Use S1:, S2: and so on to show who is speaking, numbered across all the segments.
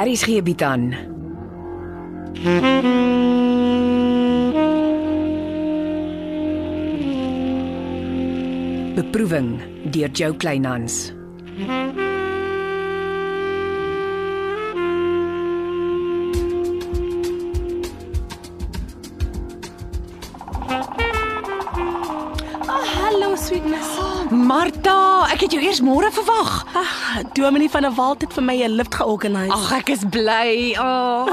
S1: Aries gee bied aan. Beproeving deur Jo Kleinhans.
S2: Ah, Hallo sweetness.
S1: Martha, ek het jou eers môre verwag.
S2: Ag, Dominie Ah, van der Walt het vir my 'n lift georganiseer.
S1: Ag, ek is bly. Oh.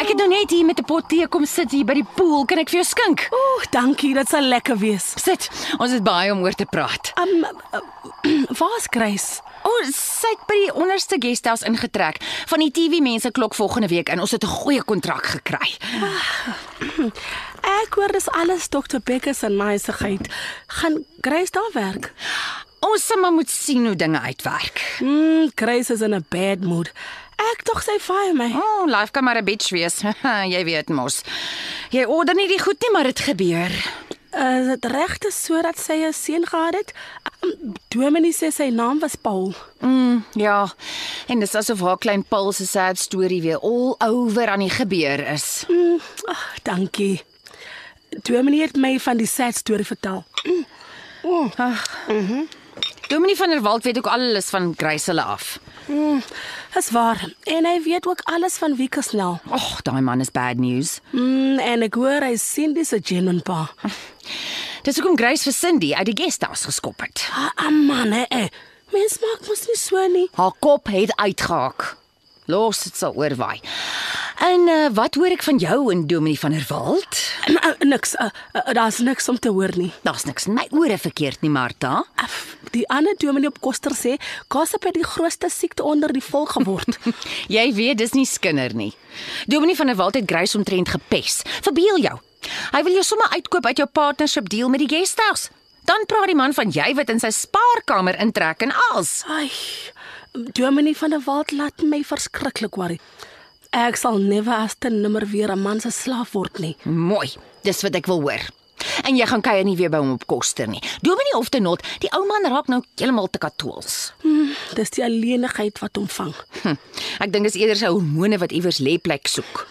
S1: ek het nou net hier met 'n pot tee kom sit hier by die pool. Kan ek vir jou skink?
S2: Ooh, dankie, dit sal lekker wees.
S1: Sit. Ons het baie om oor te praat.
S2: Um uh, waar's Grace?
S1: O, oh, sy het by die onderste guesthouse ingetrek. Van die TV mense klok volgende week in. Ons het 'n goeie kontrak gekry.
S2: Ek hoor dis alles Dr Becker se naisigheid. Gaan Grace daar werk?
S1: Ons sal maar moet sien hoe dinge uitwerk.
S2: Mm, Grace is in 'n bad mood. Ek tog sy fire my.
S1: O, oh, life kan maar 'n bitch wees. jy weet mos. Jy order nie die goed nie, maar dit gebeur.
S2: Is dit regte sodat sy 'n seun gehad het? Um, Dominie sê sy naam was Paul.
S1: Mm, ja. En dis asof haar klein Paul se sad storie weer all over aan die gebeur is.
S2: Mm, ag, dankie. Dominie het my van die sad storie vertel.
S1: Dominie van der Walt weet ook alles van Grace hulle af.
S2: Mm, is waar. En hy weet ook alles van wie Kesnel.
S1: Och, daai man is bad news.
S2: Mm, en ek hoor hy sien dis 'n genuine pa.
S1: Dis hoekom Grace vir Cindy uit die guesthouse geskop het.
S2: Ah, ah man, hè. Eh. Mens maak mos nie so nie.
S1: Haar kop het uitgehaak. Los dit sal oorwaai. En uh, wat hoor ek van jou en Dominie van der Walt?
S2: Uh, niks. Uh, uh, Daar's niks om te hoor nie.
S1: Daar's niks in my ore verkeerd nie, Martha.
S2: Af, die ander dominee op Koster sê gossip het die grootste siekte onder die volk geword.
S1: Jy weet dis nie skinder nie. Dominie van der Walt het Grace omtrent gepes. Verbeel jou. Hy wil jou sommer uitkoop uit jou partnership deal met die guesthouse. Dan praat die man van jy wat in sy spaarkamer intrek en als.
S2: Ai. Dominee van der Walt laat my verskriklik worry. Ek sal never as te nimmer weer 'n man se slaaf word nie.
S1: Mooi. Dis wat ek wil hoor. En jy gaan kuier nie weer by hom op koster nie. Dominie of te not, die ou man raak nou heeltemal te katools.
S2: Hmm, dis die alleenigheid wat hom vang.
S1: Hm, ek dink dis eerder sy hormone wat iewers lê plek soek.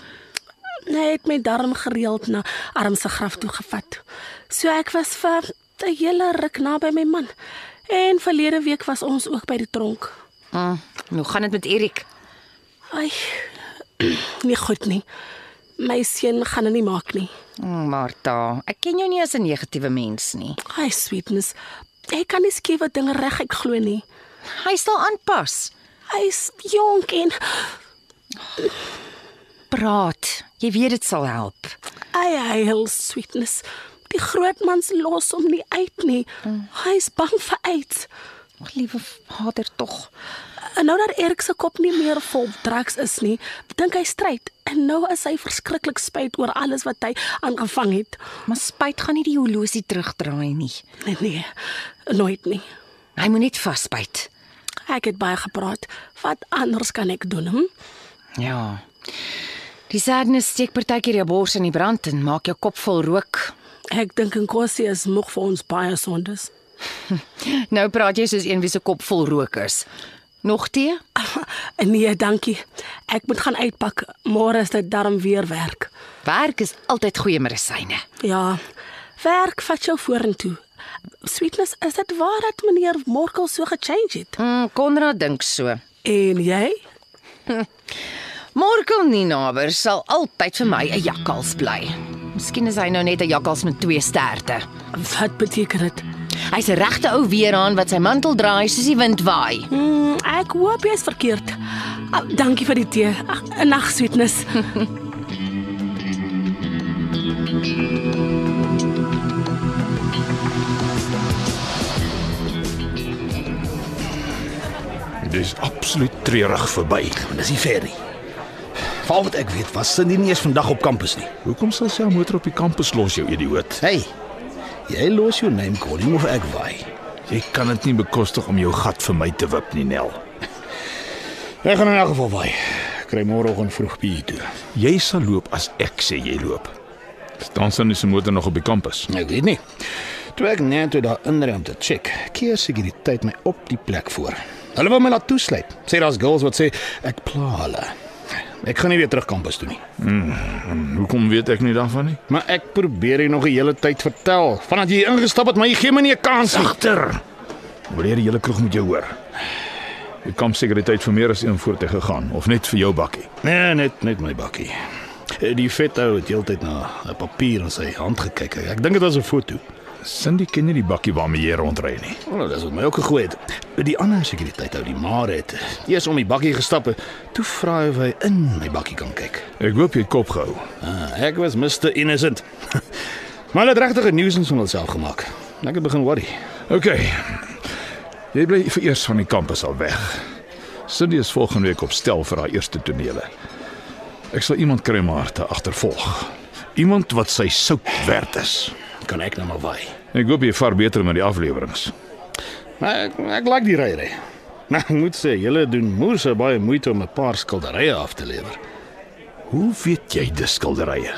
S2: Hy het my darm gereeld na arm se graf toe gevat. So ek was vir 'n hele ruk naby my man. En verlede week was ons ook by die tronk.
S1: Hm, nou gaan dit met Erik.
S2: Ai. Nie goed nie. My seun gaan dit nie maak nie.
S1: Hm, Martha, ek ken jou nie as 'n negatiewe mens nie.
S2: Ai, sweetness. Ek kan nie skewe dinge reguit glo nie.
S1: Hy sal aanpas.
S2: Hy's jonk en
S1: Praat. Jy weet dit sal help.
S2: Ai, ai, heel sweetness. Die groot mans los hom nie uit nie. Hy's bang vir uit.
S1: Ag, liewe vader tog.
S2: En nou dat Erik se kop nie meer vol drugs is nie, dink hy stryd. En nou is hy verskriklik spyt oor alles wat hy aangevang het.
S1: Maar spyt gaan nie die horlosie terugdraai nie.
S2: Nee, nee, nooit nie.
S1: Hy moet net vasbyt.
S2: Ek het baie gepraat. Wat anders kan ek doen? Hm?
S1: Ja. Die sadness steek partykeer jou bors in die brand en maak jou kop vol rook.
S2: Ek dink Nkosi is moeg vir ons baie sondes.
S1: Nou praat jy soos een wie se kop vol rook is. Nog tee?
S2: Nee, dankie. Ek moet gaan uitpak. Môre is dit darm weer werk.
S1: Werk is altyd goeie medisyne.
S2: Ja. Werk vat jou vorentoe. Sweetness, is dit waar dat meneer Morkel so gechange het?
S1: Mm, Konrad dink so.
S2: En jy?
S1: Morkel Ninaber sal altyd vir my 'n jakkals bly. Miskien is hy nou net 'n jakkals met twee sterte.
S2: Wat beteken dit?
S1: Hy's 'n regte ou weerhaan wat sy mantel draai soos die wind waai.
S2: Mm, ek hoop jy's verkeerd. Oh, dankie vir die tee. Ag, 'n nag sweetness.
S3: Dis absoluut treurig verby.
S4: Maar dis nie fair nie. Val wat ek weet, was Cindy nie eens vandag op kampus nie.
S3: Hoekom sal sy haar motor op die kampus los, jou idioot?
S4: Hey. Jy los jou name calling of ek waai.
S3: Jy kan dit nie bekostig om jou gat vir my te wip nie, Nel.
S4: Ek gaan in elk geval waai. Kry môreoggend vroeg by toe.
S3: Jy sal loop as ek sê jy loop. Staan sy nie se motor nog op die kampus?
S4: Ek weet nie. Toe ek net toe daar inry om te check, keer sekuriteit my op die plek voor. Hulle wou my laat toesluit. Sê daar's girls wat sê ek pla hulle. Ek gaan nie weer terug kampus toe nie.
S3: Hoekom weet ek nie daarvan nie?
S4: Maar ek probeer jy nog 'n hele tyd vertel. Vandat jy hier ingestap het, maar jy gee my nie 'n kans nie.
S3: Agter. Wil jy die hele kroeg met jou hoor? Ek kom sekuriteit vir meer as een voorteg gegaan of net vir jou bakkie.
S4: Nee, net net my bakkie. Eh, Die vet ou het heeltyd na 'n papier in sy hand gekyk. Ek dink dit was 'n foto.
S3: Cindy ken nie die bakkie waarmee jy rondry nie.
S4: Wel, dis wat my ook gegooi het. Die ander sekuriteit ou, die Mare het eers om die bakkie gestap. Toe vra hy of hy in my bakkie kan kyk.
S3: Ek hoop jy het kop gehou.
S4: Ah, ek was Mr Innocent. maar hulle het regtig 'n nuisance van hulself gemaak. Ek het begin worry.
S3: OK. Jy bly vir eers van die kampus al weg. Cindy is volgende week op stel vir haar eerste tonele. Ek sal iemand kry om haar te agtervolg. Iemand wat sy sout werd is.
S4: Kan ek nou maar waai.
S3: Ek hoop jy vaar beter met die afleweringe.
S4: Maar ek ek like die ryery. Nou ek moet sê, julle doen moerse baie moeite om 'n paar skilderye af te lewer.
S3: Hoe weet jy dis skilderye?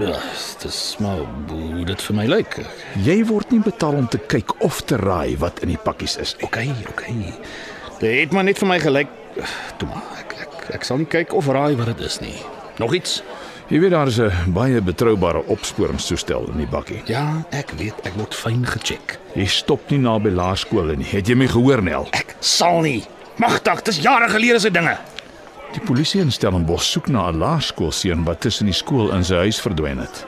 S4: Ja, dis maar hoe dit vir my lyk.
S3: Jy word nie betaal om te kyk of te raai wat in die pakkies is nie.
S4: OK, OK. Nee. Dit het maar net vir my gelyk. Toe maar, ek ek ek sal nie kyk of raai wat dit is nie. Nog iets?
S3: Jy weet daar is 'n baie betroubare opsporingstoestel in die bakkie.
S4: Ja, ek weet, ek word fyn gecheck.
S3: Jy stop nie naby laerskole nie. Het jy my gehoor, Nel?
S4: Ek sal nie. Magtig, dis jare gelede se dinge.
S3: Die polisie in Stellenbosch soek na 'n laerskoolseun wat tussen die skool en sy huis verdwyn het.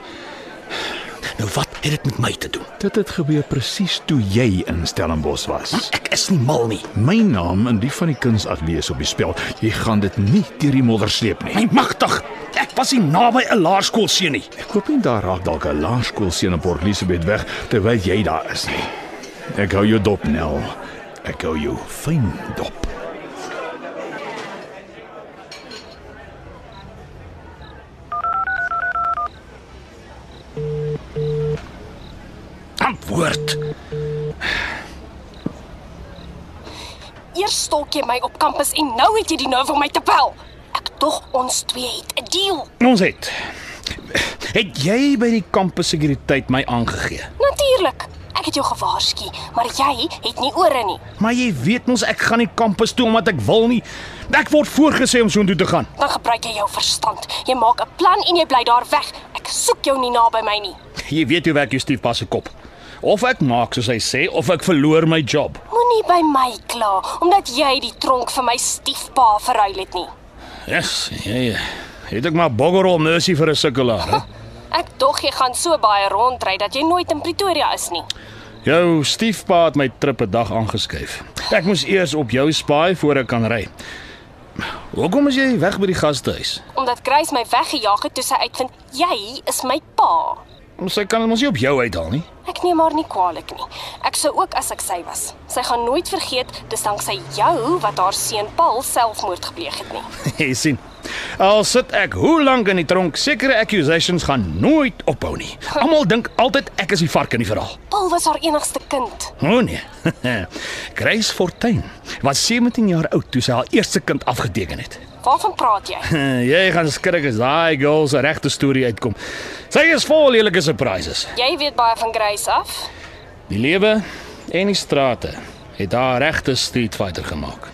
S4: Nou wat het dit met my te doen?
S3: Dit het gebeur presies toe jy in Stellenbosch was.
S4: Hm? Ek is nie mal nie.
S3: My naam en die van die kunsatelier is op die spel. Jy gaan dit nie deur die modder sleep nie.
S4: My magtig. Ek was nie naby 'n laerskoolseun nie.
S3: Ek hoop nie daar raak dalk 'n laerskoolseun op Port Elizabeth weg terwyl jy daar is nie. Ek hou jou dop, Nel. Ek hou jou fyn dop.
S4: Antwoord.
S5: Eers stalk jy my op kampus en nou het jy die nerve om my te bel. Ek tog ons twee het 'n deal.
S4: Ons het. Het jy by die kampus sekuriteit my aangegee?
S5: Natuurlik. Ek het jou gewaarsku, maar jy het nie ore nie.
S4: Maar jy weet mos ek gaan nie kampus toe omdat ek wil nie. Ek word voorgesê om soontoe te gaan.
S5: Dan gebruik jy jou verstand. Jy maak 'n plan en jy bly daar weg. Ek soek jou nie naby my nie.
S4: Jy weet hoe werk jou stiefpa se kop. Of ek maak soos hy sê of ek verloor my job.
S5: Moenie by my kla omdat jy die tronk vir my stiefpa verruil het nie.
S4: Yes, jy het ek maar boggerol mercy vir 'n sukkelaar. hè?
S5: Ek dog jy gaan so baie rondry dat jy nooit in Pretoria is nie.
S4: Jou stiefpa het my trip 'n dag aangeskuif. Ek moes eers op jou spaai voor ek kan ry. Hoekom is jy weg by die gastehuis?
S5: Omdat Grace my weggejaag het toe sy uitvind jy is my pa.
S4: Ons sy kan dit mos nie op jou uithaal nie.
S5: Ek neem haar nie kwaadlik nie. Ek sou ook as ek sy was. Sy gaan nooit vergeet dis danksy jou wat haar seun Paul selfmoord gepleeg het nie.
S4: Jy sien. Al sit ek hoe lank in die tronk, sekere accusations gaan nooit ophou nie. Almal dink altyd ek is die vark in die verhaal.
S5: Paul was haar enigste kind.
S4: O nee. Grace Fortuin was 17 jaar oud toe sy haar eerste kind afgeteken het.
S5: Waarvan praat jy?
S4: Jy gaan skrik as daai girl se regte storie uitkom. Sy is vol lelike surprises.
S5: Jy weet baie van Grace af.
S4: Die lewe en die strate het haar regte street fighter gemaak.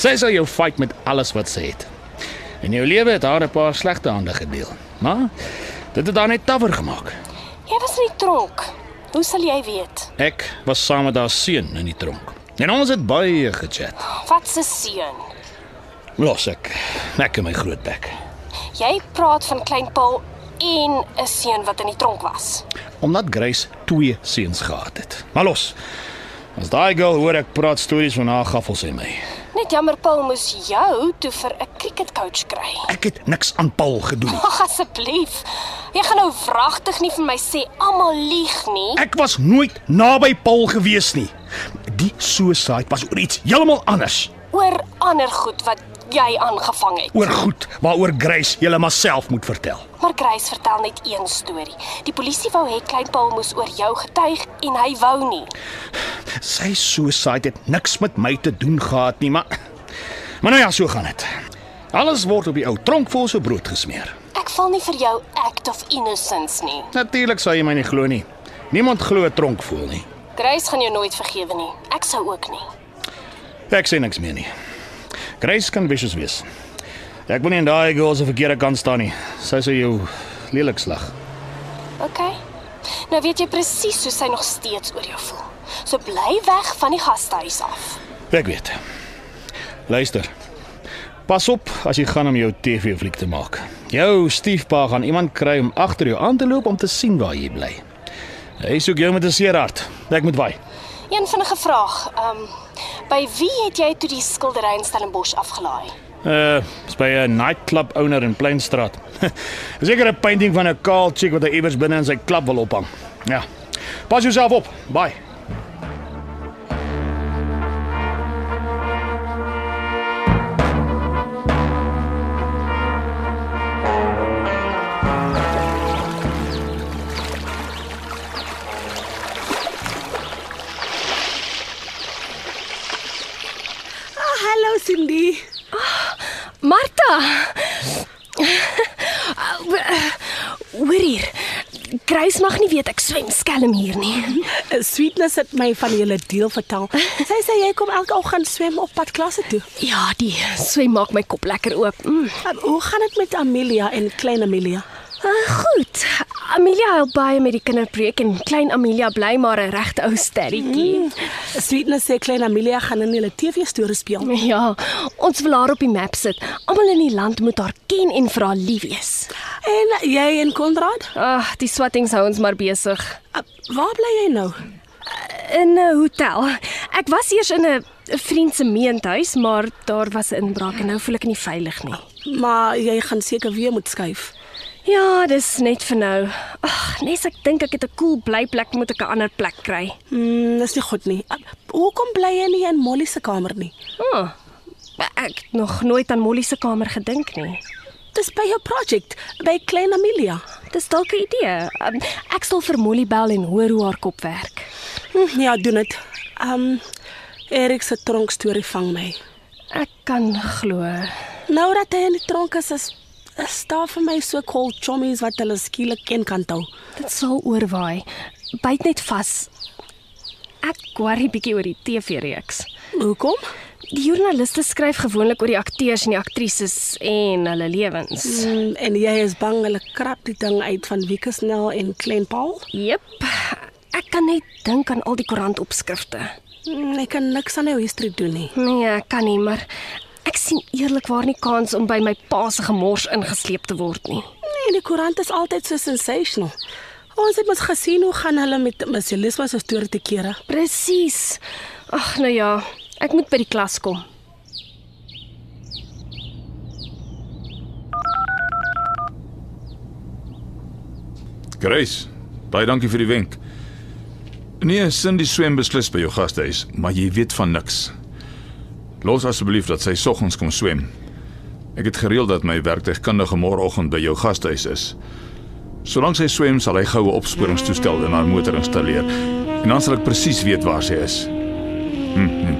S4: Sy sal jou fight met alles wat sy het. In jou lewe het haar 'n paar slegte hande gedeel, maar dit het haar net tawer gemaak.
S5: Jy was in die tronk. Hoe sal jy weet?
S4: Ek was saam met haar seun in die tronk. En ons het baie gechat.
S5: Wat se seun?
S4: Los ek. Ek in my groot bek.
S5: Jy praat van klein Paul en 'n seun wat in die tronk was.
S4: Omdat Grace twee seuns gehad het. Maar los. As daai girl hoor ek praat stories van haar gaffel sy my.
S5: Net jammer Paul moes jou toe vir 'n cricketcoach kry.
S4: Ek het niks aan Paul gedoen nie.
S5: Ag asseblief. Jy gaan nou wragtig nie vir my sê almal lieg nie.
S4: Ek was nooit naby Paul gewees nie. Die suicide was oor iets heeltemal anders.
S5: Oor ander goed wat jy aangevang het.
S4: Oor goed waaroor Grace julle myself moet vertel.
S5: Maar Grace vertel net een storie. Die polisie wou hê Klein Paul moes oor jou getuig en hy wou nie.
S4: Sy suicide het niks met my te doen gehad nie, maar maar nou ja, so gaan dit. Alles word op die ou tronk vol so brood gesmeer.
S5: Ek val nie vir jou act of innocence nie.
S4: Natuurlik sou jy my nie glo nie. Niemand glo 'n tronk vol nie.
S5: Grace gaan jou nooit vergewe nie. Ek sou ook nie.
S4: Ek sê niks meer nie. Grace kan vicious wees. Ek wil nie in daai girl se verkeerde kant staan nie. Sy sou jou lelik slag.
S5: OK. Nou weet jy presies hoe sy nog steeds oor jou voel. So bly weg van die gastehuis af.
S4: Ek weet. Luister. Pas op as jy gaan om jou TV fliek te maak. Jou stiefpa gaan iemand kry om agter jou aan te loop om te sien waar jy bly. Hy soek jou met 'n seerhart. Ek moet waai.
S5: Een vinnige vraag. Ehm um, by wie het jy toe die skildery in Stellenbosch afgelaai?
S4: Uh, dis by 'n nightclub owner in Plainstraat. Seker 'n painting van 'n kaal chick wat hy iewers binne in sy klub wil ophang. Ja. Pas jouself op. Bye.
S2: Ah, hallo Cindy.
S5: Martha. Hoor hier. Grace mag nie weet ek swem skelm hier nie.
S2: eh, Sweetness het my van julle deel vertel. Sy sê jy kom elke oggend swem op pad klasse toe.
S5: Ja, die swem maak my kop lekker oop. Mm.
S2: Um, hoe gaan dit met Amelia en klein Amelia?
S5: Uh, goed. Amelia help baie met die kinderpreek en klein Amelia bly maar 'n regte ou sterretjie. Mm.
S2: Eh, Sweetness sê klein Amelia gaan in hulle TV-storie speel.
S5: Ja, ons wil haar op die map sit. Almal in die land moet haar ken en vir haar lief wees.
S2: En jy en Konrad?
S5: Ag, die swattings hou ons maar besig.
S2: Uh, waar bly jy nou?
S5: In 'n hotel. Ek was eers in 'n 'n vriend se meentuis, maar daar was 'n inbraak en nou voel ek nie veilig nie.
S2: Maar jy gaan seker weer moet skuif.
S5: Ja, dis net vir nou. Ag, nes ek dink ek het 'n cool blyplek moet ek 'n ander plek kry.
S2: Mm, dis nie goed nie. Uh, hoekom bly jy nie in Molly se kamer nie?
S5: Oh, ek het nog nooit aan Molly se kamer gedink nie.
S2: Dis by jou project, by klein Amelia.
S5: Dis dalk 'n idee. Um, ek sal vir Molly bel en hoor hoe haar kop werk.
S2: Hm, ja, doen dit. Um Erik se tronk storie vang my.
S5: Ek kan glo.
S2: Nou dat hy in die tronk is, is is daar vir my so cold chommies wat hulle skielik ken kan hou.
S5: Dit sal oorwaai. Byt net vas. Ek worry bietjie oor die TV-reeks.
S2: Hoekom?
S5: Die joernaliste skryf gewoonlik oor die akteurs en die aktrises en hulle lewens.
S2: Mm, en jy is bang hulle krap die ding uit van Wieke Snell en Klein Paul?
S5: Jep. Ek kan net dink aan al die koerantopskrifte.
S2: Mm, ek kan niks aan jou history doen nie.
S5: Nee, ek kan nie, maar ek sien eerlikwaar nie kans om by my pa se gemors ingesleep te word nie.
S2: Nee, die koerant is altyd so sensational. Ons het mos gesien hoe gaan hulle met Miss Elisma se storie te kere.
S5: Presies. Ag nou ja, ek moet by die klas kom.
S3: Grace, baie dankie vir die wenk. Nee, Cindy swem beslis by jou gastehuis, maar jy weet van niks. Los asseblief dat sy soggens kom swem. Ek het gereël dat my werktuigkundige môreoggend by jou gastehuis is. Solank sy swem, sal hy goue opsporingstoestel in haar motor installeer en dan sal ek presies weet waar sy is. Hm, hm.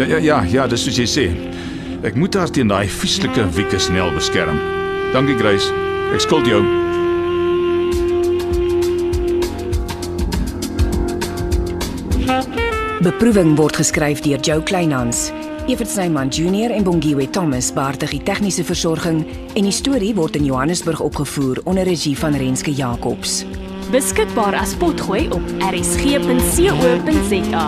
S3: Ja ja ja, ja, dis soos jy sê. Ek moet haar teen daai vieslike wieke snel beskerm. Dankie Grace. Ek skuld jou.
S6: Beproeving word geskryf deur Jo Kleinhans. Evert Snyman Junior en Bongwe Thomas baartig die tegniese versorging en die storie word in Johannesburg opgevoer onder regie van Renske Jacobs.
S7: beskikbaar as potgooi op rsg.co.za.